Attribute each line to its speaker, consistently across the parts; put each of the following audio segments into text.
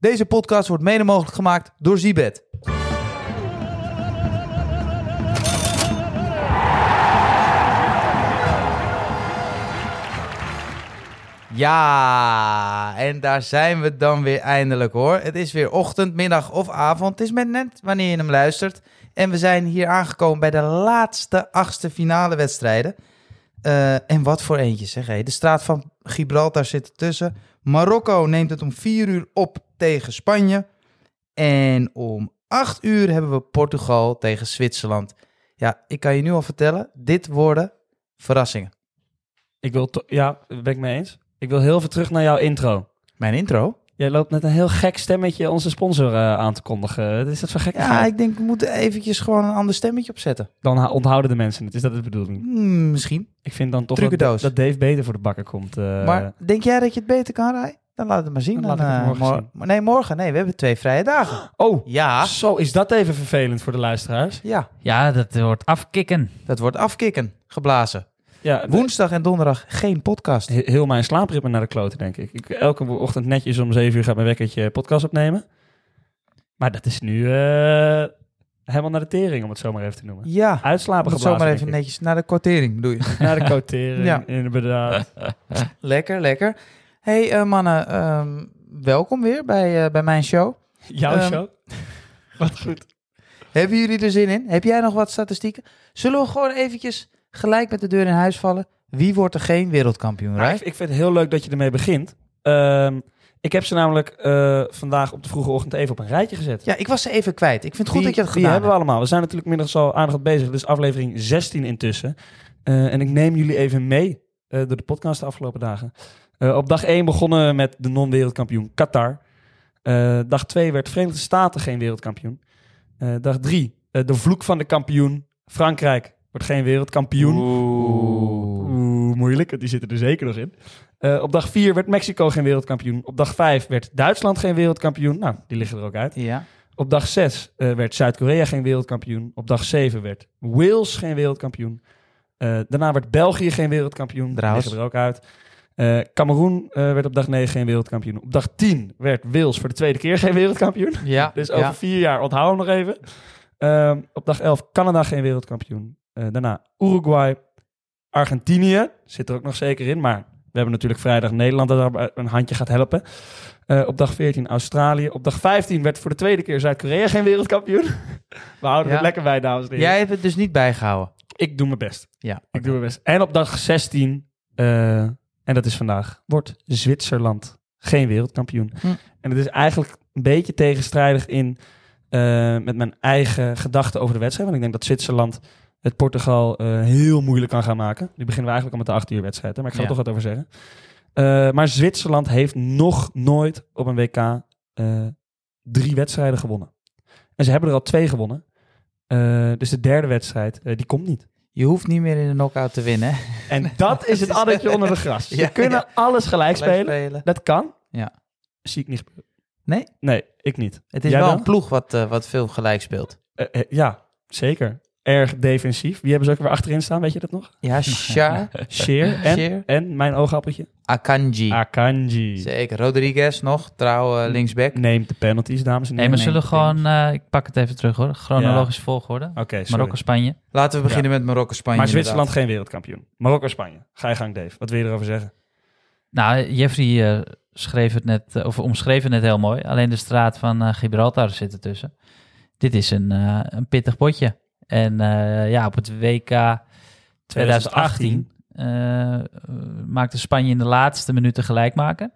Speaker 1: Deze podcast wordt mede mogelijk gemaakt door Zibet. Ja, en daar zijn we dan weer eindelijk hoor. Het is weer ochtend, middag of avond. Het is met net wanneer je hem luistert. En we zijn hier aangekomen bij de laatste achtste finale wedstrijden. Eh, en wat voor eentje zeg. hé. De straat van Gibraltar zit ertussen. Marokko neemt het om 4 uur op tegen Spanje. En om 8 uur hebben we Portugal tegen Zwitserland. Ja, ik kan je nu al vertellen, dit worden verrassingen.
Speaker 2: Ik wil to- ja, daar ben ik mee eens. Ik wil heel even terug naar jouw intro.
Speaker 1: Mijn intro?
Speaker 2: Jij loopt met een heel gek stemmetje onze sponsor eh, aan te kondigen. Wat is dat voor gek?
Speaker 1: Ja, ik denk we moeten eventjes gewoon een ander stemmetje opzetten.
Speaker 2: Dan ha- onthouden de mensen het. Is dat de bedoeling?
Speaker 1: Hmm, misschien.
Speaker 2: Ik vind dan toch dat,
Speaker 1: Trucendoos.
Speaker 2: dat Dave beter voor de bakker komt. eh.
Speaker 1: maar denk jij dat je het beter kan rijden? Dan laat het maar zien.
Speaker 2: Dan laat ik het
Speaker 1: eh,
Speaker 2: morgen
Speaker 1: mor-
Speaker 2: zien.
Speaker 1: maar Nee, morgen. Nee, we hebben twee vrije dagen.
Speaker 2: Oh,
Speaker 1: Ja.
Speaker 2: zo is dat even vervelend voor de luisteraars.
Speaker 1: Ja,
Speaker 3: Ja, dat wordt afkikken.
Speaker 1: dat wordt afkikken, geblazen.
Speaker 2: Ja,
Speaker 1: Woensdag en donderdag geen podcast.
Speaker 2: he- heel mijn slaapritme naar de kloten, denk ik. ik. Elke ochtend netjes om 7 uur gaat mijn wekkertje podcast opnemen. Maar dat is nu eh, helemaal naar de tering, om het zo maar even te noemen.
Speaker 1: Ja,
Speaker 2: Uitslapen
Speaker 1: om het zomaar
Speaker 2: geblazen,
Speaker 1: even
Speaker 2: denk
Speaker 1: netjes naar de kwartering, bedoel je?
Speaker 2: ik. Naar de kotering,
Speaker 1: Ja.
Speaker 2: inderdaad.
Speaker 1: Lekker, lekker. Hey eh, mannen, ehm, welkom weer bij, eh, bij mijn show.
Speaker 2: Jouw
Speaker 1: Ehm,
Speaker 2: show? Wat goed.
Speaker 1: Hebben jullie er zin in? Heb jij nog wat statistieken? Zullen we gewoon eventjes gelijk met de deur in huis vallen? Wie wordt er geen wereldkampioen,
Speaker 2: Maar
Speaker 1: Rijf?
Speaker 2: ik, ik vind het heel leuk dat je ermee begint. Ehm, ik heb ze namelijk eh, vandaag op de vroege ochtend even op een rijtje gezet.
Speaker 1: Ja, ik was ze even kwijt. Ik vind het goed
Speaker 2: Die-
Speaker 1: dat je dat
Speaker 2: die
Speaker 1: gedaan
Speaker 2: hebben
Speaker 1: hebt.
Speaker 2: we allemaal. We zijn natuurlijk middags al aardig wat bezig. Dit is aflevering 16 intussen. Eh, en ik neem jullie even mee eh, door de podcast de afgelopen dagen. Eh, op dag 1 begonnen we met de non-wereldkampioen Qatar. Eh, dag 2 werd Verenigde Staten geen wereldkampioen. Eh, dag 3, de vloek van de kampioen. Frankrijk wordt geen wereldkampioen. Oeh, moeilijk. want Die zitten er zeker nog in. Eh, op dag 4 werd Mexico geen wereldkampioen. Op dag 5 werd Duitsland geen wereldkampioen. Nou, die liggen er ook uit.
Speaker 1: Ja.
Speaker 2: Op dag 6 eh, werd Zuid-Korea geen wereldkampioen. Op dag 7 werd Wales geen wereldkampioen. Eh, daarna werd België geen wereldkampioen. Die
Speaker 1: Trouwens.
Speaker 2: liggen er ook uit. Eh Cameroen eh, werd op dag 9 geen wereldkampioen. Op dag 10 werd Wales voor de tweede keer geen wereldkampioen.
Speaker 1: Ja,
Speaker 2: Dus over
Speaker 1: ja.
Speaker 2: vier jaar, onthoud hem nog even. Ehm, op dag 11 Canada geen wereldkampioen. Eh, daarna Uruguay, Argentinië zit er ook nog zeker in. Maar we hebben natuurlijk vrijdag Nederland dat daar een handje gaat helpen. Eh, op dag 14 Australië. Op dag 15 werd voor de tweede keer Zuid-Korea geen wereldkampioen. We houden
Speaker 1: Ja.
Speaker 2: het lekker bij, dames en heren.
Speaker 1: Jij hebt het dus niet bijgehouden.
Speaker 2: Ik doe mijn best.
Speaker 1: Ja.
Speaker 2: Ik doe mijn best. En op dag 16, eh, en dat is vandaag, wordt Zwitserland geen wereldkampioen.
Speaker 1: Hm.
Speaker 2: En dat is eigenlijk een beetje tegenstrijdig in eh, met mijn eigen gedachten over de wedstrijd. Want ik denk dat Zwitserland het Portugal eh, heel moeilijk kan gaan maken. Nu beginnen we eigenlijk al met de 8 uur wedstrijd, hè, maar ik ga
Speaker 1: Ja.
Speaker 2: er toch wat over zeggen. Eh, maar Zwitserland heeft nog nooit op een WK eh, drie wedstrijden gewonnen. En ze hebben er al twee gewonnen. Eh, dus de derde wedstrijd, eh, die komt niet.
Speaker 1: Je hoeft niet meer in de knockout te winnen. hè?
Speaker 2: En dat is het addertje onder de gras. Ze
Speaker 1: Ja,
Speaker 2: kunnen alles gelijk spelen. Dat kan.
Speaker 1: Ja.
Speaker 2: Zie ik niet gebeuren.
Speaker 1: Nee?
Speaker 2: Nee, ik niet.
Speaker 1: Het is
Speaker 2: Jij
Speaker 1: wel
Speaker 2: wel?
Speaker 1: een ploeg wat, eh, wat veel gelijk speelt.
Speaker 2: Eh, eh, ja, zeker. Erg defensief. Wie hebben ze ook weer achterin staan, weet je dat nog?
Speaker 1: Ja, Shah,
Speaker 2: Sheer en,
Speaker 1: Sheer,
Speaker 2: en mijn oogappeltje.
Speaker 1: Akanji.
Speaker 2: Akanji.
Speaker 1: Zeker. Rodriguez nog, trouw
Speaker 2: Mm.
Speaker 1: eh, linksback.
Speaker 2: Neemt de penalties, dames en
Speaker 3: Nee,
Speaker 2: heren.
Speaker 3: maar zullen we
Speaker 2: Neemt de
Speaker 3: gewoon...
Speaker 2: penalties.
Speaker 3: eh, ik pak het even terug hoor. Chronologisch volgorde.
Speaker 2: Oké, sorry.
Speaker 3: Marokko-Spanje.
Speaker 1: Laten we beginnen met Marokko-Spanje.
Speaker 2: Maar
Speaker 1: inderdaad.
Speaker 2: Zwitserland geen wereldkampioen. Marokko-Spanje. Ga je gang, Dave. Wat wil je erover zeggen?
Speaker 3: Nou, Jeffrey eh, schreef het net, eh, of omschreef het net heel mooi. Alleen de straat van eh, Gibraltar zit ertussen. Dit is een, eh, een pittig potje. En eh, ja, op het WK 2018 eh, maakte Spanje in de laatste minuten gelijk maken.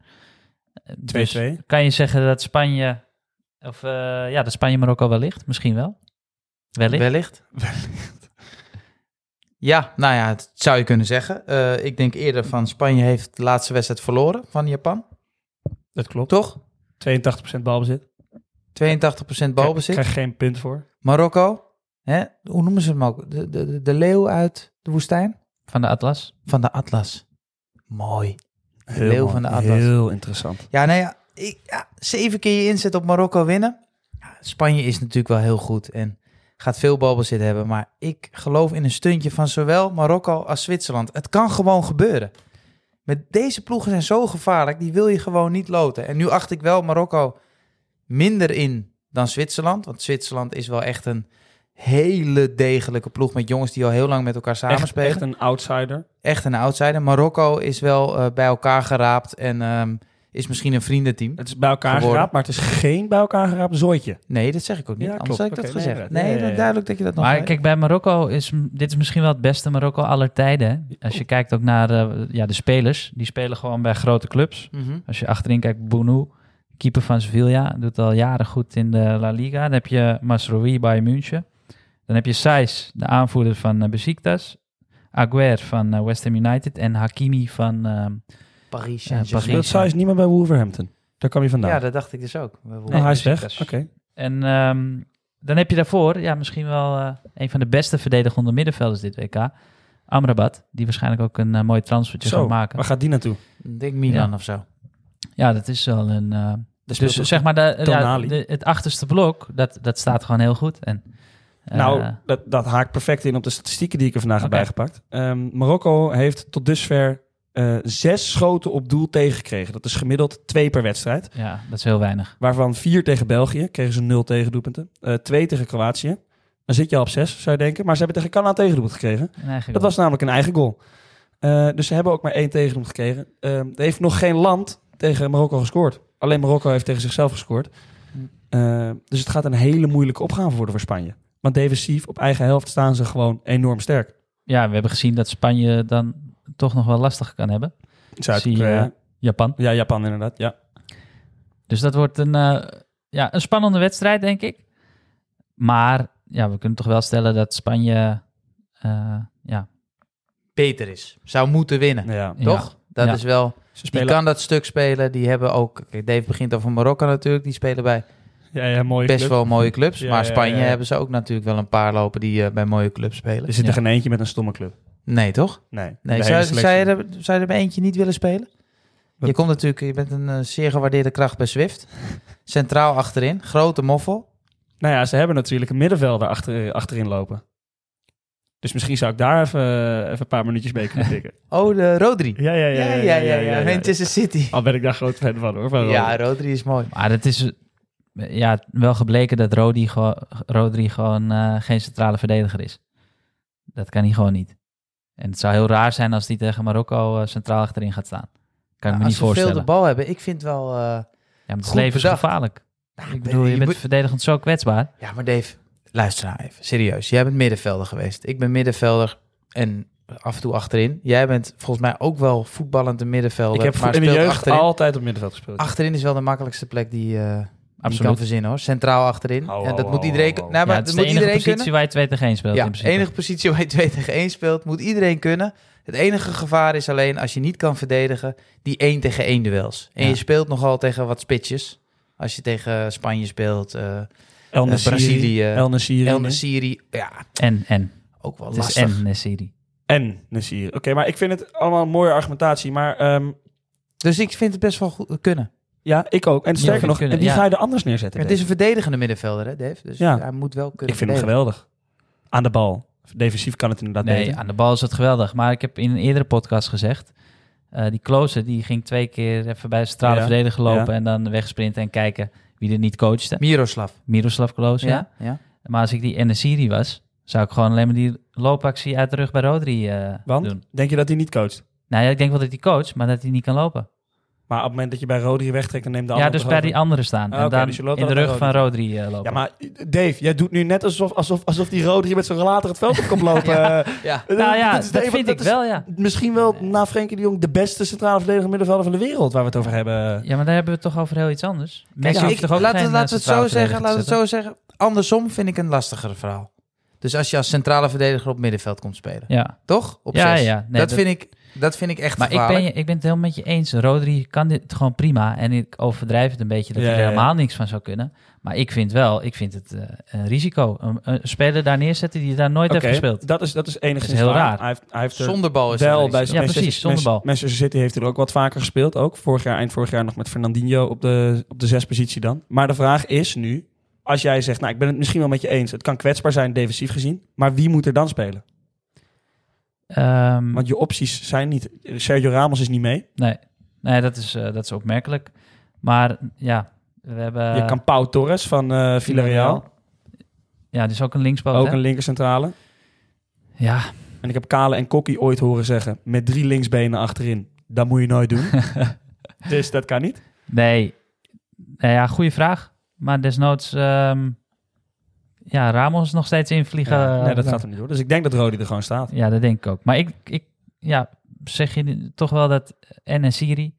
Speaker 3: 2-2.
Speaker 2: 2-2.
Speaker 3: kan je zeggen dat Spanje, of eh, ja, dat Spanje Marokko wellicht, misschien wel. Wellicht.
Speaker 1: Wellicht. Ja, nou ja, het zou je kunnen zeggen. Eh, ik denk eerder van Spanje heeft de laatste wedstrijd verloren van Japan.
Speaker 2: Dat klopt.
Speaker 1: Toch?
Speaker 2: 82% balbezit.
Speaker 1: 82% balbezit.
Speaker 2: Krijg geen punt voor.
Speaker 1: Marokko. Hè? Hoe noemen ze hem ook? De, de, de- de leeuw uit de woestijn?
Speaker 3: Van de Atlas.
Speaker 1: Van de Atlas. Mooi.
Speaker 2: Heel,
Speaker 1: Leeuw
Speaker 2: mooi.
Speaker 1: van de Atlas.
Speaker 2: Heel interessant.
Speaker 1: Ja, nou ja, ik, ja, zeven keer je inzet op Marokko winnen. Ja, Spanje is natuurlijk wel heel goed en gaat veel balbezit hebben. Maar ik geloof in een stuntje van zowel Marokko als Zwitserland. Het kan gewoon gebeuren. Met deze ploegen zijn zo gevaarlijk, die wil je gewoon niet loten. En nu acht ik wel Marokko minder in dan Zwitserland. Want Zwitserland is wel echt een hele degelijke ploeg met jongens die al heel lang met elkaar
Speaker 2: Echt,
Speaker 1: samenspelen.
Speaker 2: echt een outsider.
Speaker 1: echt een outsider. Marokko is wel eh, bij elkaar geraapt en ehm, is misschien een vriendenteam.
Speaker 2: Het is bij elkaar
Speaker 1: Geworden.
Speaker 2: geraapt, maar het is geen bij elkaar geraapt zooitje.
Speaker 1: Nee, dat zeg ik ook niet.
Speaker 2: Ja,
Speaker 1: Anders
Speaker 2: klopt.
Speaker 1: had ik dat
Speaker 2: Oké, nee,
Speaker 1: gezegd.
Speaker 2: nee,
Speaker 1: Nee,
Speaker 2: nee,
Speaker 1: dat-
Speaker 2: nee.
Speaker 1: duidelijk dat je dat nog
Speaker 3: Maar
Speaker 1: weet.
Speaker 3: kijk, bij Marokko is m- dit is misschien wel het beste Marokko aller tijden. hè. Als je kijkt ook naar eh, ja, de spelers, die spelen gewoon bij grote clubs.
Speaker 1: Mhm.
Speaker 3: Als je achterin kijkt, Bounou, keeper van Sevilla, doet al jaren goed in de La Liga. Dan heb je Masrowi bij München. Dan heb je Saiz, de aanvoerder van eh, Besiktas. Aguer van eh, West Ham United en Hakimi van... ehm,
Speaker 1: Paris
Speaker 3: Saint-Germain.
Speaker 2: Dat
Speaker 3: Ja. Nou.
Speaker 2: zou je niet meer bij Wolverhampton. Daar kwam je vandaan.
Speaker 1: Ja, dat dacht ik dus ook. We- we-
Speaker 2: oh, hij is weg.
Speaker 3: Besiktas.
Speaker 2: Oké.
Speaker 3: En ehm, dan heb je daarvoor, ja, misschien wel eh, een van de beste verdedigende middenvelders dit WK. Amrabat, die waarschijnlijk ook een eh, mooi transfertje
Speaker 2: Zo,
Speaker 3: gaat maken.
Speaker 2: waar gaat die naartoe?
Speaker 1: Ik denk Milan of zo.
Speaker 3: Ja, dat is wel een... eh,
Speaker 2: speelt
Speaker 3: dus
Speaker 2: toch
Speaker 3: zeg maar, de, ja,
Speaker 2: Tonali?
Speaker 3: de- het achterste blok, dat, dat staat gewoon heel goed. En, eh,
Speaker 2: nou, dat, dat haakt perfect in op de statistieken die ik er vandaag
Speaker 3: Oké.
Speaker 2: heb bijgepakt. Ehm, Marokko heeft tot dusver eh, zes schoten op doel tegengekregen. Dat is gemiddeld twee per wedstrijd.
Speaker 3: ja, dat is heel weinig.
Speaker 2: Waarvan vier tegen België, kregen ze nul tegendoelpunten. Eh twee tegen Kroatië. Dan zit je al op zes, zou je denken. Maar ze hebben tegen Canada een tegendoelpunt gekregen.
Speaker 3: En eigenlijk
Speaker 2: Dat was namelijk een eigen goal. Eh, dus ze hebben ook maar één tegendoelpunt gekregen. Eh, er heeft nog geen land tegen Marokko gescoord. Alleen Marokko heeft tegen zichzelf gescoord. Eh, dus het gaat een hele moeilijke opgave worden voor Spanje. Want defensief, op eigen helft, staan ze gewoon enorm sterk.
Speaker 3: Ja, we hebben gezien dat Spanje dan toch nog wel lastig kan hebben. Zie
Speaker 2: Zuid-Korea.
Speaker 3: je. Japan.
Speaker 2: Ja, Japan inderdaad. Ja.
Speaker 3: Dus dat wordt een, eh, ja, een spannende wedstrijd, denk ik. Maar ja, we kunnen toch wel stellen dat Spanje. eh, ja,
Speaker 1: Beter is. Zou moeten winnen.
Speaker 2: ja.
Speaker 1: Toch? Dat
Speaker 3: Ja.
Speaker 1: is wel...
Speaker 2: Ze
Speaker 1: Die
Speaker 2: spelen...
Speaker 1: kan dat stuk spelen. Die hebben ook... Kijk, Dave begint over Marokko natuurlijk. Die spelen bij
Speaker 2: Ja, ja, mooie
Speaker 1: best
Speaker 2: club.
Speaker 1: wel mooie clubs.
Speaker 2: Ja,
Speaker 1: maar
Speaker 2: ja,
Speaker 1: Spanje
Speaker 2: ja.
Speaker 1: hebben ze ook natuurlijk wel een paar lopen die eh, bij mooie clubs spelen.
Speaker 2: Er zit er
Speaker 3: Ja.
Speaker 2: geen eentje met een stomme club.
Speaker 1: Nee, toch?
Speaker 2: Nee.
Speaker 1: Nee,
Speaker 2: de
Speaker 1: zou,
Speaker 2: hele
Speaker 1: zou, je
Speaker 2: selectie.
Speaker 1: er, zou je er bij eentje niet willen spelen?
Speaker 2: Wat-
Speaker 1: Je komt natuurlijk... Je bent een eh, zeer gewaardeerde kracht bij Swift. Centraal achterin. Grote moffel.
Speaker 2: Nou ja, ze hebben natuurlijk een middenvelder achter, achterin lopen. Dus misschien zou ik daar even, even een paar minuutjes mee kunnen tikken.
Speaker 1: Oh, de Rodri.
Speaker 2: ja, ja,
Speaker 1: Ja, ja, ja. Manchester City.
Speaker 2: Al ben ik daar groot fan van hoor. Van
Speaker 1: Ja,
Speaker 2: Robben.
Speaker 1: Rodri is mooi.
Speaker 3: maar het is eh, ja, wel gebleken dat Rodri, gewo- Rodri gewoon eh, geen centrale verdediger is. Dat kan hij gewoon niet. En het zou heel raar zijn als hij tegen Marokko eh, centraal achterin gaat staan. Kan ik me
Speaker 1: Nou, als
Speaker 3: niet
Speaker 1: ze veel de
Speaker 3: voorstellen.
Speaker 1: bal hebben, ik vind wel... eh,
Speaker 3: Ja, maar het
Speaker 1: Goed
Speaker 3: leven is
Speaker 1: bedacht.
Speaker 3: gevaarlijk. Ik bedoel,
Speaker 1: je
Speaker 3: je bent
Speaker 1: moet-
Speaker 3: verdedigend zo kwetsbaar.
Speaker 1: Ja, maar Dave, luister nou even. Serieus, jij bent middenvelder geweest. Ik ben middenvelder en af en toe achterin. Jij bent volgens mij ook wel voetballend een middenvelder.
Speaker 2: Ik heb
Speaker 1: maar
Speaker 2: in de
Speaker 1: speelt
Speaker 2: jeugd
Speaker 1: achterin.
Speaker 2: altijd op middenveld gespeeld.
Speaker 1: Achterin is wel de makkelijkste plek die, eh, die je kan
Speaker 3: Absoluut.
Speaker 1: verzinnen hoor. Centraal achterin.
Speaker 2: Ho,
Speaker 1: en
Speaker 2: ho,
Speaker 1: dat
Speaker 2: ho,
Speaker 1: moet iedereen,
Speaker 2: ho, ho.
Speaker 1: kun- nou,
Speaker 3: Ja,
Speaker 1: maar
Speaker 3: het is
Speaker 1: dat
Speaker 3: de
Speaker 1: moet
Speaker 3: enige
Speaker 1: iedereen
Speaker 3: positie
Speaker 1: kunnen.
Speaker 3: waar je 2 tegen 1 speelt.
Speaker 1: Ja, de
Speaker 3: in principe.
Speaker 1: enige positie waar je 2 tegen 1 speelt, moet iedereen kunnen. Het enige gevaar is alleen als je niet kan verdedigen, die 1 tegen 1 duels. En
Speaker 3: Ja.
Speaker 1: je speelt nogal tegen wat spitjes. Als je tegen Spanje speelt, eh
Speaker 2: El
Speaker 1: eh,
Speaker 2: Nassiri.
Speaker 1: Brazilië,
Speaker 2: El Nassiri.
Speaker 1: El Nassiri. Ja,
Speaker 3: En, en.
Speaker 1: ook wel
Speaker 3: Het is
Speaker 1: lastig.
Speaker 3: en Nesiri.
Speaker 2: En Nassiri. Oké, maar ik vind het allemaal een mooie argumentatie. Maar ehm,
Speaker 1: Dus ik vind het best wel goed kunnen.
Speaker 2: ja, ik ook. En sterker
Speaker 3: vind
Speaker 2: nog,
Speaker 3: kunnen,
Speaker 2: en die
Speaker 3: ja.
Speaker 2: ga je er anders neerzetten.
Speaker 1: Het
Speaker 2: denk
Speaker 1: is een verdedigende middenvelder, hè, Dave? Dus
Speaker 2: Ja.
Speaker 1: hij moet wel
Speaker 2: ik.
Speaker 1: kunnen
Speaker 2: ik vind hem
Speaker 1: verdedigen.
Speaker 2: geweldig. Aan de bal. Defensief kan het inderdaad
Speaker 3: Nee,
Speaker 2: beter.
Speaker 3: aan de bal is het geweldig. Maar ik heb in een eerdere podcast gezegd... eh, die Klose, die ging twee keer even bij de centrale
Speaker 2: Ja,
Speaker 3: verdediger lopen... en dan wegsprinten en kijken wie er niet coachte.
Speaker 1: Miroslav.
Speaker 3: Miroslav Klose, ja.
Speaker 1: Ja. ja.
Speaker 3: Maar als ik die Nesiri was... zou ik gewoon alleen maar die loopactie uit de rug bij Rodri eh,
Speaker 2: Want
Speaker 3: doen.
Speaker 2: denk je dat hij niet coacht?
Speaker 3: Nou ja, ik denk wel dat hij coach, maar dat hij niet kan lopen.
Speaker 2: Maar op het moment dat je bij Rodri wegtrekt, dan neemt de
Speaker 3: ja,
Speaker 2: ander
Speaker 3: dus
Speaker 2: toch
Speaker 3: bij
Speaker 2: over.
Speaker 3: die anderen staan.
Speaker 2: Ah,
Speaker 3: en
Speaker 2: oké,
Speaker 3: dan
Speaker 2: dus je loopt
Speaker 3: in de
Speaker 2: dan bij
Speaker 3: rug van Rodri eh, lopen.
Speaker 2: Ja, maar Dave, jij doet nu net alsof, alsof, alsof die Rodri met zijn relater het veld op komt lopen. Eh,
Speaker 3: nou ja,
Speaker 2: dit
Speaker 3: dat,
Speaker 2: is de-
Speaker 3: vind
Speaker 2: dat
Speaker 3: ik
Speaker 2: is
Speaker 3: wel, ja.
Speaker 2: Misschien wel na Frenkie de Jong de beste centrale verdediger middenvelder van de wereld waar we het over hebben.
Speaker 3: Ja, maar daar hebben we het toch over heel iets anders. Messi
Speaker 1: Kijk,
Speaker 3: hoeft
Speaker 1: ik-
Speaker 3: toch ook
Speaker 1: laten,
Speaker 3: geen,
Speaker 1: we-
Speaker 3: eh,
Speaker 1: laten we het zo
Speaker 3: centrale
Speaker 1: zeggen, laten we
Speaker 3: verdediger
Speaker 1: het zo
Speaker 3: te
Speaker 1: zeggen. Andersom vind ik een lastiger verhaal. Dus als je als centrale verdediger op middenveld komt spelen.
Speaker 3: zetten. Ja.
Speaker 1: Toch? Op
Speaker 3: Ja,
Speaker 1: zes.
Speaker 3: ja. Nee,
Speaker 1: dat,
Speaker 3: dat-
Speaker 1: Vind ik, dat vind ik echt
Speaker 3: Maar ik ben,
Speaker 1: gevaarlijk.
Speaker 3: je- ik ben het helemaal met je eens. Rodri kan dit gewoon prima. En ik overdrijf het een beetje dat
Speaker 2: Ja,
Speaker 3: hij er
Speaker 2: ja, ja.
Speaker 3: helemaal niks van zou kunnen. Maar ik vind wel, ik vind het eh, een risico. Een, een speler daar neerzetten die daar nooit heeft gespeeld.
Speaker 2: dat is, dat is enigszins
Speaker 3: Dat is heel
Speaker 2: waar.
Speaker 3: raar.
Speaker 2: Hij heeft, hij heeft er
Speaker 1: Zonder bal is
Speaker 2: wel
Speaker 1: dat
Speaker 2: bij
Speaker 1: een
Speaker 3: Ja, precies, zonder bal.
Speaker 2: Manchester City heeft er ook wat vaker gespeeld. Ook vorig jaar, eind vorig jaar nog met Fernandinho op de, op de zespositie dan. Maar de vraag is nu, als jij zegt, nou ik ben het misschien wel met je eens. Het kan kwetsbaar zijn defensief gezien, maar wie moet er dan spelen?
Speaker 3: Ehm,
Speaker 2: Want je opties zijn niet, Sergio Ramos is niet mee.
Speaker 3: nee, nee dat, is, eh, dat is opmerkelijk. Maar ja, We hebben...
Speaker 2: je kan Pau Torres van eh Villarreal.
Speaker 3: Ja, die is ook een linksboot,
Speaker 2: Ook
Speaker 3: hè?
Speaker 2: een linkercentrale.
Speaker 3: Ja,
Speaker 2: En ik heb Kale en Kokkie ooit horen zeggen... met drie linksbenen achterin, dat moet je nooit doen. dus dat kan niet.
Speaker 3: nee. Nou ja, goede vraag. Maar desnoods... ehm, ja, Ramos nog steeds eh, invliegen.
Speaker 2: Ja, nee, dat
Speaker 3: Dan-
Speaker 2: gaat hem niet door. Dus ik denk dat Rodi er gewoon staat.
Speaker 3: Ja, dat denk ik ook. Maar ik, ik ja, zeg je nu toch wel dat en Siri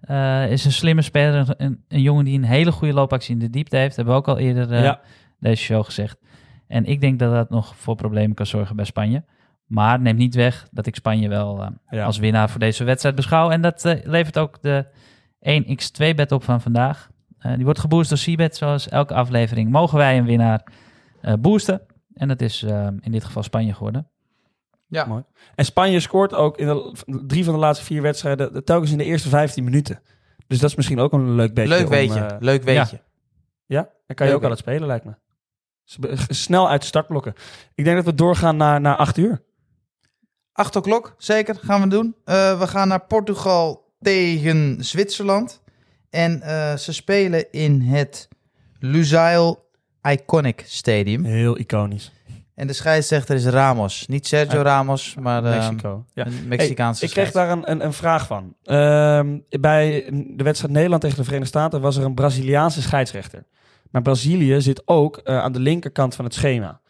Speaker 3: eh, is een slimme speler. Een, een jongen die een hele goede loopactie in de diepte heeft. Hebben we ook al eerder eh,
Speaker 2: Ja.
Speaker 3: deze show gezegd. En ik denk dat dat nog voor problemen kan zorgen bij Spanje. Maar neem niet weg dat ik Spanje wel eh,
Speaker 2: Ja.
Speaker 3: als winnaar voor deze wedstrijd beschouw. En dat eh, levert ook de 1x2-bet op van vandaag. Eh, die wordt geboost door Seabed. Zoals elke aflevering mogen wij een winnaar eh, boosten. En dat is eh, in dit geval Spanje geworden.
Speaker 1: Ja.
Speaker 2: Mooi. En Spanje scoort ook in de, drie van de laatste vier wedstrijden... telkens in de eerste 15 minuten. Dus dat is misschien ook een leuk beetje.
Speaker 1: Leuk
Speaker 2: om,
Speaker 1: weetje.
Speaker 2: eh,
Speaker 1: leuk weetje.
Speaker 2: Ja, dan kan je
Speaker 1: Leuk,
Speaker 2: ook aan het spelen, lijkt me. Ze be- g- Snel uit de startblokken. Ik denk dat we doorgaan naar, naar acht uur.
Speaker 1: Acht o'clock, zeker. Gaan we doen. Eh, we gaan naar Portugal tegen Zwitserland. En eh, ze spelen in het Lusail Iconic Stadium.
Speaker 2: Heel iconisch.
Speaker 1: En de scheidsrechter is Ramos. Niet Sergio
Speaker 2: Ah,
Speaker 1: Ramos, maar eh,
Speaker 2: Mexico. Ja.
Speaker 1: een
Speaker 2: Hey,
Speaker 1: Mexicaanse
Speaker 2: ik kreeg
Speaker 1: scheids.
Speaker 2: daar een, een, een vraag van. Ehm, bij de wedstrijd Nederland tegen de Verenigde Staten was er een Braziliaanse scheidsrechter. Maar Brazilië zit ook eh, aan de linkerkant van het schema.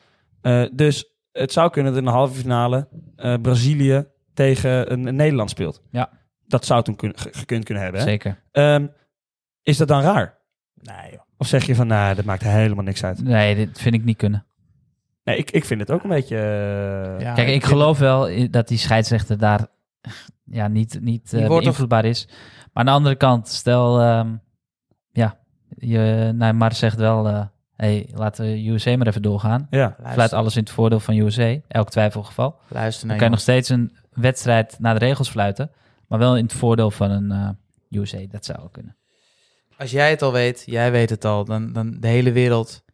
Speaker 2: Eh, dus het zou kunnen dat in de halve finale eh, Brazilië tegen een, een Nederland speelt.
Speaker 3: Ja.
Speaker 2: Dat zou toen kun, ge- gekund kunnen hebben. hè?
Speaker 3: Zeker.
Speaker 2: Ehm, is dat dan raar?
Speaker 1: Nee, joh.
Speaker 2: Of zeg je van, nou, dat maakt helemaal niks uit?
Speaker 3: Nee, dit vind ik niet kunnen.
Speaker 2: Nee, ik, ik vind het ook een beetje... eh,
Speaker 1: Ja,
Speaker 3: Kijk, ik
Speaker 1: vind-
Speaker 3: geloof wel i- dat die scheidsrechter daar ja, niet, niet
Speaker 1: Die
Speaker 3: eh,
Speaker 1: wordt toch-
Speaker 3: beïnvloedbaar is. Maar aan de andere kant, stel, ehm, ja, je, Neymar zegt wel, eh hey, laten we USA maar even doorgaan.
Speaker 2: ja.
Speaker 3: Fluit
Speaker 1: Luister,
Speaker 3: alles in het voordeel van USA, elk twijfelgeval. Dan
Speaker 1: luister
Speaker 3: kan
Speaker 1: naar
Speaker 3: je nog
Speaker 1: jongens.
Speaker 3: steeds een wedstrijd naar de regels fluiten, maar wel in het voordeel van een eh USA. Dat zou wel kunnen.
Speaker 1: Als jij het al weet, jij weet het al, dan, dan de hele wereld,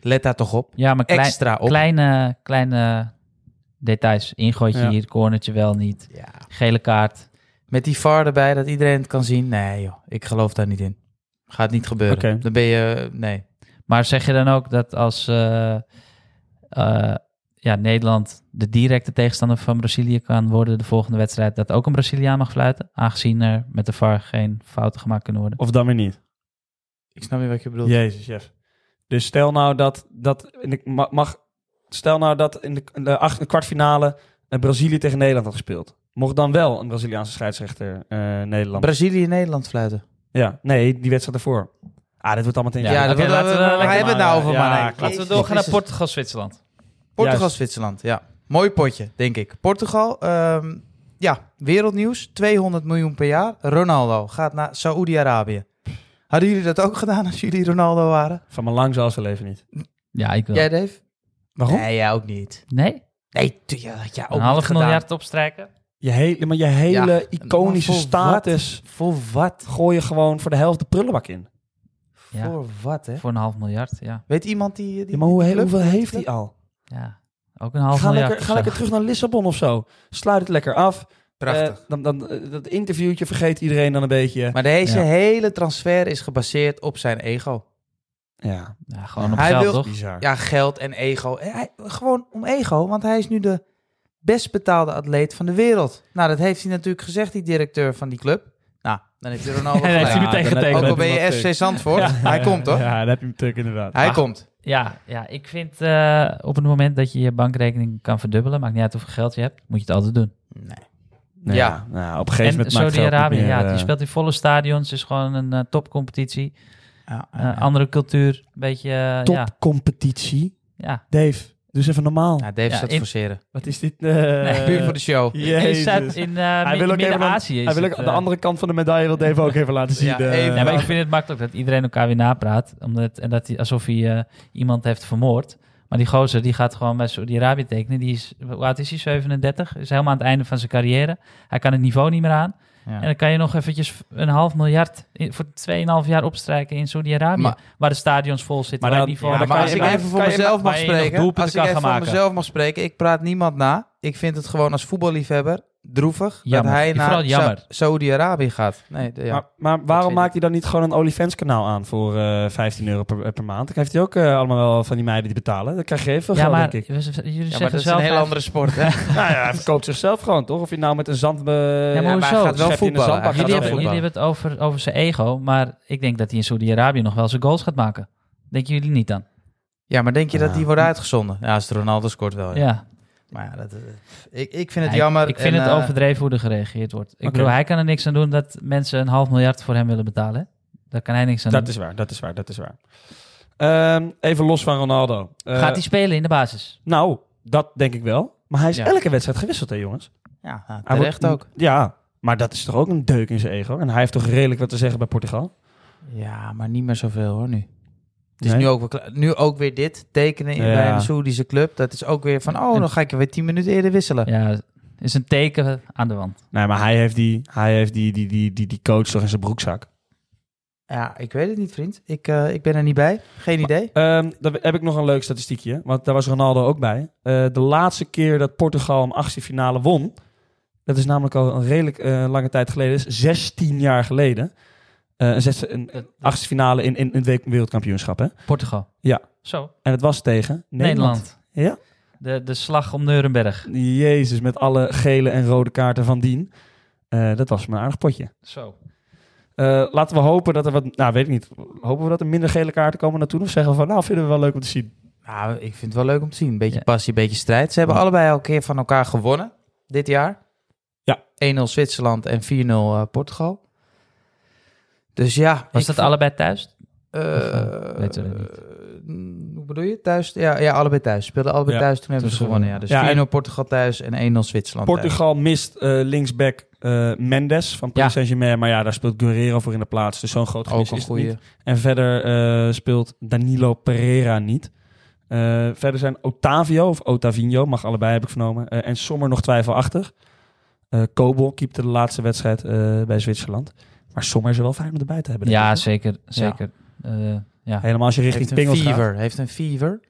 Speaker 1: let daar toch op.
Speaker 3: Ja, maar klein,
Speaker 1: Extra op.
Speaker 3: kleine, kleine details. Ingooitje
Speaker 2: Ja.
Speaker 3: hier, cornertje wel niet.
Speaker 1: Ja.
Speaker 3: Gele kaart.
Speaker 1: Met die VAR erbij, dat iedereen het kan zien. Nee joh, ik geloof daar niet in. Gaat niet gebeuren.
Speaker 2: Oké.
Speaker 1: Dan ben je, nee.
Speaker 3: Maar zeg je dan ook dat als eh, eh, ja, Nederland de directe tegenstander van Brazilië kan worden de volgende wedstrijd, dat ook een Braziliaan mag fluiten? Aangezien er met de VAR geen fouten gemaakt kunnen worden.
Speaker 2: Of dan weer niet.
Speaker 1: Ik snap niet wat je bedoelt.
Speaker 2: Jezus, Jeff. Dus stel nou dat, dat in de, ma- mag, stel nou dat in de, de acht, kwartfinale eh, Brazilië tegen Nederland had gespeeld. Mocht dan wel een Braziliaanse scheidsrechter eh, Nederland.
Speaker 1: Brazilië en Nederland fluiten.
Speaker 2: ja, nee, die wedstrijd ervoor. Ah, dit wordt allemaal meteen.
Speaker 3: Ja, dat
Speaker 2: oké,
Speaker 3: willen
Speaker 2: laten
Speaker 3: we-
Speaker 2: maar,
Speaker 3: waar hebben we
Speaker 2: eh,
Speaker 1: het nou over,
Speaker 2: ja,
Speaker 1: man, hè?
Speaker 2: klopt.
Speaker 1: Laten we doorgaan naar
Speaker 3: Portugal-Zwitserland.
Speaker 2: Juist.
Speaker 1: Portugal-Zwitserland, ja. Mooi potje, denk ik. Portugal, ehm, ja, wereldnieuws. 200 miljoen per jaar. Ronaldo gaat naar Saoedi-Arabië. Hadden jullie dat ook gedaan als jullie Ronaldo waren?
Speaker 2: Van mijn lang zal ze leven niet.
Speaker 3: Ja, ik wil.
Speaker 1: Jij, Dave?
Speaker 2: Waarom?
Speaker 1: Nee, jij ook niet.
Speaker 3: Nee?
Speaker 1: Nee, tu- ja, had jij ook
Speaker 3: Een
Speaker 1: niet
Speaker 3: half
Speaker 1: gedaan.
Speaker 3: miljard opstrijken?
Speaker 2: Je hele, maar je hele iconische
Speaker 1: maar voor
Speaker 2: status
Speaker 1: Voor wat?
Speaker 2: gooi je gewoon voor de helft de prullenbak in.
Speaker 3: Ja.
Speaker 1: Voor wat, hè?
Speaker 3: Voor een half miljard, ja.
Speaker 1: Weet iemand die... die
Speaker 2: Ja, maar hoe,
Speaker 1: die club?
Speaker 2: hoeveel
Speaker 1: Weet
Speaker 2: heeft
Speaker 1: die
Speaker 2: hij al?
Speaker 3: ja. Ook een half
Speaker 2: Ga
Speaker 3: miljard.
Speaker 2: lekker,
Speaker 3: of
Speaker 2: ga
Speaker 3: zo.
Speaker 2: lekker terug naar Lissabon of zo. Sluit het lekker af.
Speaker 1: club? Prachtig.
Speaker 2: Eh, dan, dan, eh, dat interviewtje vergeet iedereen dan een beetje.
Speaker 1: maar deze
Speaker 3: Ja.
Speaker 1: hele transfer is gebaseerd op zijn ego.
Speaker 2: Ja,
Speaker 3: Ja, gewoon op
Speaker 1: Hij
Speaker 3: geld,
Speaker 1: wil-
Speaker 3: toch?
Speaker 2: bizar.
Speaker 1: Ja, geld en ego. Eh, Hij, gewoon om ego, want hij is nu de best betaalde atleet van de wereld. Nou, dat heeft hij natuurlijk gezegd, die directeur van die club. Nou, dan heeft hij Ronaldo
Speaker 3: Ja,
Speaker 1: gelijk.
Speaker 3: heeft hij meteen getekend.
Speaker 1: Ook al ben
Speaker 2: Hij
Speaker 1: je
Speaker 2: heeft hem
Speaker 1: FC Zandvoort, hij komt hoor.
Speaker 2: Ja, dat heb je hem natuurlijk inderdaad.
Speaker 1: Hij
Speaker 3: Ah.
Speaker 1: komt.
Speaker 3: Ja, ja, ik vind eh, op het moment dat je je bankrekening kan verdubbelen, maakt niet uit hoeveel geld je hebt, moet je het altijd doen.
Speaker 2: Nou
Speaker 1: Ja.
Speaker 2: nou, op een gegeven
Speaker 3: En
Speaker 2: moment maakt geld
Speaker 3: Saudi-Arabië,
Speaker 2: niet meer,
Speaker 3: ja,
Speaker 2: eh,
Speaker 3: die speelt in volle stadions, is gewoon een eh, topcompetitie.
Speaker 1: Ja,
Speaker 2: Ah,
Speaker 3: Eh, andere cultuur, een beetje, eh, ja,
Speaker 2: topcompetitie.
Speaker 3: ja.
Speaker 2: Dave, dus even normaal.
Speaker 1: Nou, Dave
Speaker 3: Ja,
Speaker 1: staat
Speaker 3: in-
Speaker 1: forceren.
Speaker 2: Wat is dit? eh,
Speaker 1: Puur voor de show.
Speaker 3: Hij staat in eh,
Speaker 2: Hij wil
Speaker 3: Mi-
Speaker 2: ook even
Speaker 3: Midden-Azië.
Speaker 2: Hij wil ook aan de andere kant van de medaille wil Dave ook even laten zien.
Speaker 1: Ja,
Speaker 2: eh.
Speaker 1: even.
Speaker 3: Ja, maar ik vind het makkelijk dat iedereen elkaar weer napraat. Omdat, en dat hij, alsof hij eh, iemand heeft vermoord. Maar die gozer die gaat gewoon bij Saudi-Arabië tekenen. Die is, hoe oud is hij? 37? Is helemaal aan het einde van zijn carrière. Hij kan het niveau niet meer aan. En dan kan je nog eventjes een half miljard in- voor 2,5 jaar opstrijken in Saudi-Arabië.
Speaker 1: Maar-
Speaker 3: Waar de stadions vol zitten.
Speaker 2: Maar
Speaker 3: waar
Speaker 2: dan-
Speaker 3: het niveau-
Speaker 2: ja,
Speaker 1: Ja, maar
Speaker 2: kan
Speaker 1: als
Speaker 2: je-
Speaker 1: ik
Speaker 2: maar-
Speaker 1: even voor
Speaker 2: kan je-
Speaker 1: mezelf mag
Speaker 3: maar je nog
Speaker 1: spreken,
Speaker 3: doelpunten
Speaker 1: als ik
Speaker 3: kan
Speaker 1: even
Speaker 3: gaan
Speaker 1: voor
Speaker 3: maken.
Speaker 1: mezelf mag spreken, ik praat niemand na. Ik vind het gewoon als voetballiefhebber droevig
Speaker 3: Jammer.
Speaker 1: dat hij
Speaker 3: Ik vind
Speaker 1: naar
Speaker 3: het jammer.
Speaker 1: Sa- Saudi-Arabië gaat. Nee, de- ja.
Speaker 2: Maar, maar
Speaker 1: weet
Speaker 2: waarom
Speaker 1: ik.
Speaker 2: maakt hij dan niet gewoon een OnlyFans-kanaal aan voor eh, 15 euro per, per maand? Dan heeft hij ook eh, allemaal wel van die meiden die betalen. Dan krijg je heel veel
Speaker 3: Ja,
Speaker 2: geld,
Speaker 3: maar
Speaker 2: denk ik.
Speaker 3: we- jullie
Speaker 1: ja, maar
Speaker 3: zeggen
Speaker 1: dat is
Speaker 3: zelf...
Speaker 1: een heel
Speaker 3: hij-
Speaker 1: andere sport. Hè?
Speaker 2: Nou ja, hij verkoopt zichzelf gewoon, toch? Of je nou met een zand... eh,
Speaker 3: Ja, maar
Speaker 1: hij
Speaker 3: hoezo?
Speaker 1: gaat wel
Speaker 2: Schep je in
Speaker 1: voetballen.
Speaker 2: de
Speaker 1: Hij
Speaker 2: zandbak,
Speaker 1: gaat
Speaker 3: Jullie
Speaker 1: wel
Speaker 2: dat voetballen.
Speaker 3: hebben, jullie
Speaker 1: voetballen.
Speaker 3: hebben het over, over zijn ego, maar ik denk dat hij in Saudi-Arabië nog wel zijn goals gaat maken. Denken jullie niet dan?
Speaker 1: Ja, maar denk je dat die
Speaker 2: Ja.
Speaker 1: wordt uitgezonden? Ja, als Ronaldo scoort wel.
Speaker 3: Ja.
Speaker 1: Ja. Maar ja, dat, eh, ik, ik vind het
Speaker 3: Ja, ik-
Speaker 1: jammer.
Speaker 3: Ik, vind
Speaker 1: en,
Speaker 3: het
Speaker 1: eh,
Speaker 3: overdreven hoe er gereageerd wordt. Ik
Speaker 2: Oké.
Speaker 3: bedoel, hij kan er niks aan doen dat mensen een half miljard voor hem willen betalen. hè? Daar kan hij niks aan
Speaker 2: Dat
Speaker 3: doen.
Speaker 2: is waar, dat is waar, dat is waar. Ehm, even los van Ronaldo. Eh,
Speaker 3: Gaat hij spelen in de basis?
Speaker 2: Nou, dat denk ik wel. Maar hij is
Speaker 1: Ja.
Speaker 2: elke wedstrijd gewisseld, hè, jongens?
Speaker 1: Ja, nou,
Speaker 2: Hij
Speaker 1: terecht
Speaker 2: wordt-
Speaker 1: ook.
Speaker 2: Ja, maar dat is toch ook een deuk in zijn ego? En hij heeft toch redelijk wat te zeggen bij Portugal?
Speaker 1: Ja, maar niet meer zoveel hoor nu. Het is
Speaker 2: Nee?
Speaker 1: nu, ook weer, klaar. nu ook weer dit. Tekenen in
Speaker 2: Ja.
Speaker 1: bij een Soedische club. Dat is ook weer van, oh, dan ga ik weer 10 minuten eerder wisselen.
Speaker 3: Ja, is een teken aan de wand.
Speaker 2: Nee, maar hij heeft die, hij heeft die, die, die, die, die coach toch in zijn broekzak?
Speaker 1: Ja, ik weet het niet, vriend. Ik, eh, ik ben er niet bij. Geen idee.
Speaker 2: Ehm, dan heb ik nog een leuk statistiekje, want daar was Ronaldo ook bij. Eh, de laatste keer dat Portugal een achtste finale won, dat is namelijk al een redelijk eh, lange tijd geleden, is 16 jaar geleden. Eh, een, zesde, een een achtste finale in, in, in het wereldkampioenschap. Hè?
Speaker 3: Portugal.
Speaker 2: Ja.
Speaker 3: Zo,
Speaker 2: En het was tegen Nederland.
Speaker 3: Nederland. De, de slag om Nuremberg.
Speaker 2: Ja, jezus, met alle gele en rode kaarten van dien. Eh, dat was maar een aardig potje.
Speaker 3: Zo.
Speaker 2: Eh, laten we hopen dat er wat, nou weet ik niet, hopen we dat er minder gele kaarten komen naartoe? Of zeggen we van, nou vinden we wel leuk om te zien.
Speaker 1: Nou, ik vind het wel leuk om te zien. Beetje
Speaker 3: Ja.
Speaker 1: passie, beetje strijd. Ze hebben
Speaker 2: Ja.
Speaker 1: allebei al een keer van elkaar gewonnen dit jaar.
Speaker 2: Ja.
Speaker 1: 1-0 Zwitserland en 4-0 eh, Portugal. Dus ja.
Speaker 3: Was
Speaker 1: ik
Speaker 3: dat
Speaker 1: vond-
Speaker 3: allebei thuis?
Speaker 1: Eh,
Speaker 3: Of, eh, weten we dat niet?
Speaker 1: eh, Hoe bedoel je? Thuis? Ja, ja allebei thuis. Speelden allebei
Speaker 2: Ja,
Speaker 1: thuis, toen hebben
Speaker 3: toen
Speaker 1: ze
Speaker 3: ze
Speaker 1: gewonnen. Ja.
Speaker 3: wonnen.
Speaker 1: Dus
Speaker 2: Ja, en-
Speaker 1: 4-0 Portugal thuis en 1-0 Zwitserland thuis.
Speaker 2: Portugal mist eh, linksback eh, Mendes van Paris
Speaker 3: Ja.
Speaker 2: Saint-Germain. Maar ja, daar speelt Guerrero voor in de plaats. Dus zo'n groot gemis
Speaker 1: Ook een
Speaker 2: is het
Speaker 1: goede.
Speaker 2: niet. En verder eh, speelt Danilo Pereira niet. Eh, verder zijn Otavio of Otavinho, mag allebei heb ik vernomen. eh, en Sommer nog twijfelachtig. Eh Kobol keepte de laatste wedstrijd eh, bij Zwitserland. Maar Sommer is er wel fijn om erbij te hebben. denk
Speaker 3: Ja,
Speaker 2: ik, hè?
Speaker 3: zeker. zeker. Eh, ja.
Speaker 2: Helemaal als je richting
Speaker 1: Heeft een
Speaker 2: Pingels gaat.
Speaker 1: fever. Heeft een fever.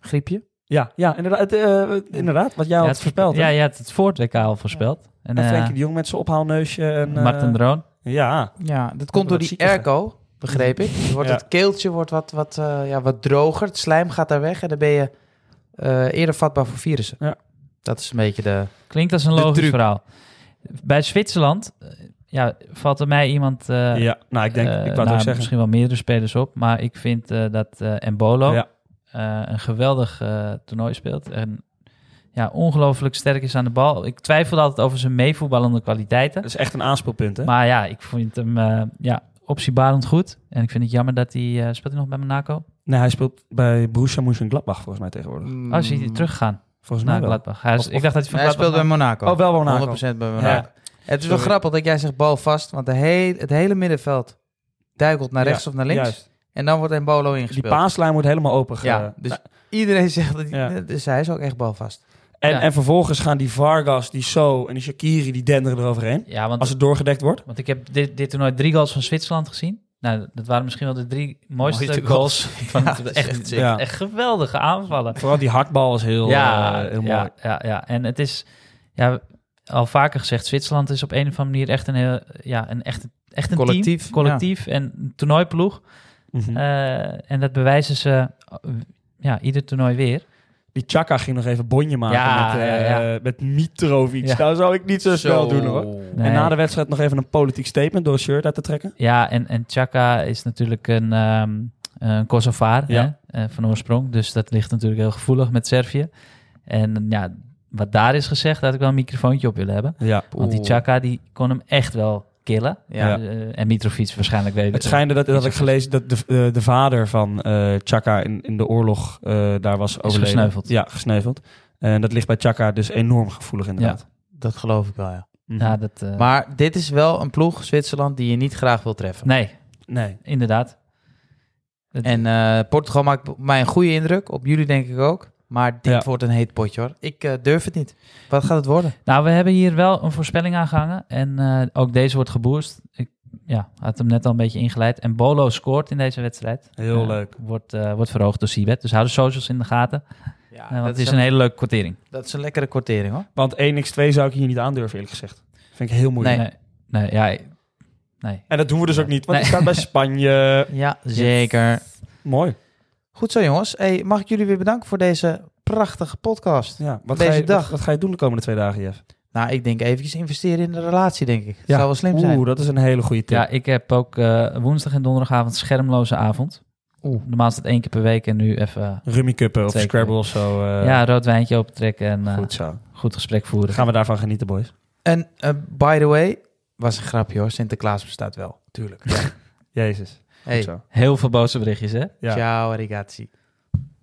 Speaker 1: Griepje.
Speaker 2: Ja, ja inderdaad, eh, eh, inderdaad. Wat jij
Speaker 3: Ja,
Speaker 2: had
Speaker 3: het-
Speaker 2: voorspeld.
Speaker 3: Ja,
Speaker 2: Ja,
Speaker 3: je had het voor het WK al voorspeld. En,
Speaker 2: en
Speaker 3: eh,
Speaker 2: Frenkie de Jong met zijn ophaalneusje. En, eh,
Speaker 3: Martin Droon.
Speaker 2: Ja,
Speaker 1: Ja, dat
Speaker 2: wat
Speaker 1: komt door die
Speaker 2: ziekige.
Speaker 1: airco, begreep ik. Dus wordt
Speaker 2: Ja.
Speaker 1: Het keeltje wordt wat, wat, eh, ja, wat droger, het slijm gaat daar weg en dan ben je eh, eerder vatbaar voor virussen.
Speaker 2: Ja.
Speaker 1: Dat is een beetje de...
Speaker 3: Klinkt als een
Speaker 1: De
Speaker 3: logisch
Speaker 1: truc.
Speaker 3: verhaal. Bij Zwitserland eh, ja, valt er mij iemand... eh,
Speaker 2: ja, nou ik denk, ik
Speaker 3: eh,
Speaker 2: wou het
Speaker 3: nou,
Speaker 2: ook zeggen.
Speaker 3: Misschien wel meerdere spelers op. Maar ik vind eh, dat eh Embolo
Speaker 2: Ja.
Speaker 3: eh, een geweldig eh, toernooi speelt. En ja, ongelooflijk sterk is aan de bal. Ik twijfelde altijd over zijn meevoetballende kwaliteiten.
Speaker 2: Dat is echt een aanspeelpunt, hè?
Speaker 3: Maar ja, ik vind hem eh ja, optiebarend goed. En ik vind het jammer dat hij... eh, speelt hij nog bij Monaco?
Speaker 2: Nee, hij speelt bij Borussia Mönchengladbach volgens mij tegenwoordig.
Speaker 1: Mm.
Speaker 3: Oh, is hij teruggegaan?
Speaker 2: Mm. Volgens mij
Speaker 3: Naar
Speaker 2: wel.
Speaker 3: Gladbach. Hij is-
Speaker 2: Of- of-
Speaker 3: Nou, ik dacht dat hij van
Speaker 1: Nee, hij
Speaker 3: Gladbach
Speaker 1: speelt bij Monaco.
Speaker 2: Oh, wel Monaco.
Speaker 1: 100% bij Monaco. Het is wel
Speaker 2: Sorry.
Speaker 1: grappig dat jij zegt bal vast, want de heel, het hele middenveld duikelt naar
Speaker 2: Ja,
Speaker 1: rechts of naar links.
Speaker 2: Juist.
Speaker 1: En dan wordt Embolo
Speaker 2: Die
Speaker 1: ingespeeld.
Speaker 2: paaslijn wordt helemaal open. ge-
Speaker 1: ja, dus iedereen zegt dat...
Speaker 2: Ja.
Speaker 1: Dus hij is ook echt balvast.
Speaker 2: en,
Speaker 3: Ja.
Speaker 2: en vervolgens gaan die Vargas, die So en die Shakiri, die denderen eroverheen.
Speaker 3: Ja, want,
Speaker 2: Als het doorgedekt wordt.
Speaker 3: want ik heb dit, dit toernooi drie goals van Zwitserland gezien. Nou, dat waren misschien wel de drie mooiste,
Speaker 1: Mooiste
Speaker 3: goals.
Speaker 1: goals.
Speaker 3: Van
Speaker 1: Ja,
Speaker 3: het-
Speaker 1: dat is echt
Speaker 3: echt,
Speaker 1: sick.
Speaker 2: Ja.
Speaker 3: echt geweldige aanvallen.
Speaker 2: Vooral die hardbal is heel,
Speaker 3: ja,
Speaker 2: eh, heel mooi.
Speaker 3: ja, ja, ja, en het is ja, al vaker gezegd, Zwitserland is op een of andere manier echt een heel, ja, een echt, echt een
Speaker 1: Collectief,
Speaker 3: team, collectief en een toernooiploeg.
Speaker 2: Mhm.
Speaker 3: Eh, en dat bewijzen ze eh, ja, ieder toernooi weer.
Speaker 2: die Chaka ging nog even bonje maken
Speaker 3: Ja,
Speaker 2: met, eh,
Speaker 3: ja,
Speaker 2: met Mitrovic.
Speaker 3: Ja.
Speaker 2: Nou zou ik niet zo, snel doen hoor.
Speaker 3: Nee.
Speaker 2: En na de wedstrijd nog even een politiek statement door een shirt uit te trekken.
Speaker 3: Ja, en, en Chaka is natuurlijk een, ehm een Kosovaar
Speaker 2: Ja.
Speaker 3: hè, eh, van oorsprong. Dus dat ligt natuurlijk heel gevoelig met Servië. En eh, ja, wat daar is gezegd, daar had ik wel een microfoontje op willen hebben.
Speaker 2: Ja.
Speaker 3: Want die
Speaker 1: Oeh.
Speaker 3: Chaka, die kon hem echt wel killen.
Speaker 1: Ja.
Speaker 3: Eh, en Mitrovic waarschijnlijk weet
Speaker 2: Het schijnde dat, dat had ik gelezen dat de, eh, de vader van eh Chaka in, in de oorlog eh, daar was overleden.
Speaker 3: gesneuveld.
Speaker 2: Ja, gesneuveld. En dat ligt bij Chaka dus enorm gevoelig inderdaad.
Speaker 1: Dat geloof ik wel, ja.
Speaker 2: Mhm.
Speaker 3: Ja, dat, eh,
Speaker 1: Maar dit is wel een ploeg, Zwitserland, die je niet graag wil treffen.
Speaker 3: Nee,
Speaker 2: Nee.
Speaker 3: inderdaad. Het-
Speaker 1: En eh, Portugal maakt op mij een goede indruk. Op jullie denk ik ook. Maar dit
Speaker 2: Ja.
Speaker 1: wordt een heet potje hoor. Ik eh, durf het niet. Wat gaat het worden?
Speaker 3: Nou, we hebben hier wel een voorspelling aangehangen. En eh, ook deze wordt geboost. Ik ja, had hem net al een beetje ingeleid. En Bolo scoort in deze wedstrijd.
Speaker 2: Heel
Speaker 3: Eh,
Speaker 2: leuk.
Speaker 3: Wordt, eh, wordt verhoogd door Sibet. Dus hou de socials in de gaten.
Speaker 1: Ja,
Speaker 3: Eh, want
Speaker 1: dat,
Speaker 3: het
Speaker 1: is
Speaker 3: is een hele leuke kwartering.
Speaker 1: dat is een lekkere kortering hoor.
Speaker 2: Want 1x2 zou ik hier niet aandurven, eerlijk gezegd. Vind ik heel moeilijk.
Speaker 1: Nee.
Speaker 3: Nee, nee, ja, ik- nee.
Speaker 2: En dat doen we dus ook niet, want het
Speaker 3: Nee.
Speaker 2: staat bij Spanje.
Speaker 1: Ja, zeker.
Speaker 2: Mooi.
Speaker 1: Goed zo jongens. Hey, mag ik jullie weer bedanken voor deze prachtige podcast?
Speaker 2: Ja, wat,
Speaker 1: Deze
Speaker 2: ga je,
Speaker 1: dag.
Speaker 2: Wat, wat ga je doen de komende twee dagen, Jeff?
Speaker 1: Nou, ik denk eventjes investeren in de relatie, denk ik.
Speaker 2: Ja.
Speaker 1: Zou wel slim zijn.
Speaker 2: Oeh, dat is een hele goede tip.
Speaker 3: Ja, ik heb ook eh, woensdag en donderdagavond schermloze avond.
Speaker 1: Oeh.
Speaker 3: Normaal is dat één keer per week en nu even
Speaker 2: Rummy cuppen of
Speaker 3: Zeker.
Speaker 2: Scrabble of zo. eh,
Speaker 3: ja, rood wijntje opentrekken en eh,
Speaker 2: Goed zo.
Speaker 3: goed gesprek voeren.
Speaker 2: Gaan we daarvan genieten, boys.
Speaker 1: En eh, by the way, was een grapje hoor. Sinterklaas bestaat wel, tuurlijk.
Speaker 2: Jezus.
Speaker 1: Hey,
Speaker 2: Goed zo.
Speaker 3: Heel veel boze berichtjes, hè?
Speaker 2: Ja.
Speaker 1: ciao ragazzi.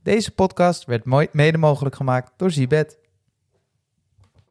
Speaker 1: Deze podcast werd mooi- mede mogelijk gemaakt door Zibet.